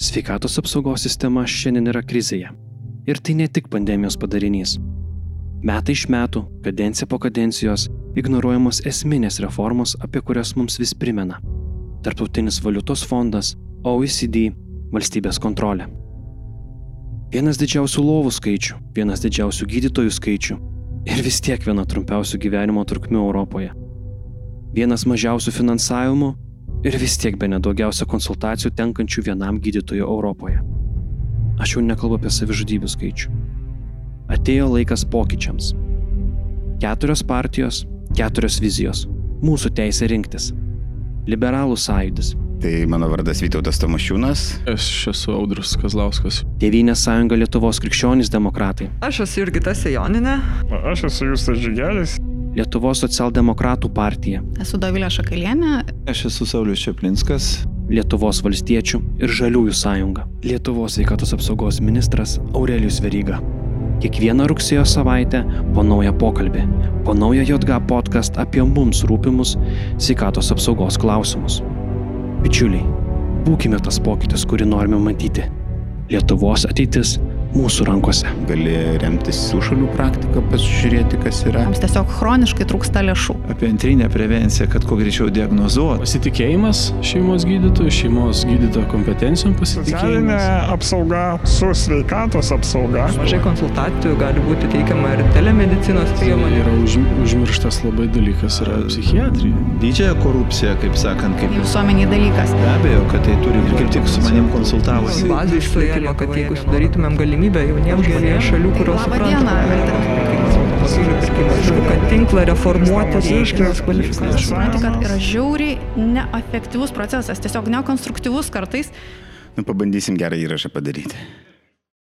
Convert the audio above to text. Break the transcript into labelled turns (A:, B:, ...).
A: Sveikatos apsaugos sistema šiandien yra krizėje. Ir tai ne tik pandemijos padarinys. Metai iš metų, kadencija po kadencijos, ignoruojamos esminės reformos, apie kurias mums vis primena. Tarptautinis valiutos fondas, OECD, valstybės kontrolė. Vienas didžiausių lovų skaičių, vienas didžiausių gydytojų skaičių ir vis tiek viena trumpiausių gyvenimo trukmių Europoje. Vienas mažiausių finansavimų ir vis tiek be nedaugiausia konsultacijų tenkančių vienam gydytojui Europoje. Aš jau nekalbu apie savižudybių skaičių. Atėjo laikas pokyčiams. Keturios partijos, keturios vizijos. Mūsų teisė rinktis. Liberalų sąjūdis.
B: Tai mano vardas Vytautas Tomašiūnas.
C: Aš esu Audrius Kazlauskas.
A: Tėvynės sąjunga Lietuvos krikščionys demokratai.
D: Aš esu Jurgita Sejoninė.
E: Aš esu Justas Žygelis.
A: Lietuvos socialdemokratų partija.
F: Esu Dovilė Šakalienė.
G: Aš esu Saulis Čiaplinskas.
A: Lietuvos valstiečių ir žaliųjų sąjunga. Lietuvos sveikatos apsaugos ministras Aurelijus Veryga. Kiekvieną rugsėjo savaitę po naują pokalbį, po naują JOTGA podcast apie mums rūpimus sveikatos apsaugos klausimus. Bičiuliai, būkime tas pokytis, kurį norime matyti. Lietuvos ateitis mūsų rankose.
B: Gali remtis šių šalių praktiką, pasižiūrėti, kas yra.
F: Mums tiesiog chroniškai trūksta lėšų.
G: Apie antrinę prevenciją, kad kuo greičiau diagnozuotų.
C: Pasitikėjimas šeimos gydytojų, šeimos gydytojo kompetencijom pasitikėjimas.
E: Socialinė apsauga su sveikatos apsauga.
D: Mažai konsultacijų gali būti teikiama ir telemedicinos priemonė.
C: Yra už, užmirštas labai dalykas, yra psichiatrija.
G: Didžiąją korupciją, kaip sakant, kaip
F: visuomeniai dalykas.
G: Be abejo, kad tai turi ir kaip tik su manim konsultavosi.
D: Bazė išlaikėlė, kad jeigu sudarytumėm galimybę galimybę jauniems žmonėms šalių,
F: Tai
D: kurios supranta. Kad tinklą reformuoti reiškia
F: kvalifikaciją. Suprantu, kad yra žiauriai neefektyvus procesas, tiesiog nekonstruktyvus kartais.
B: Nu, pabandysim gerą įrašą padaryti.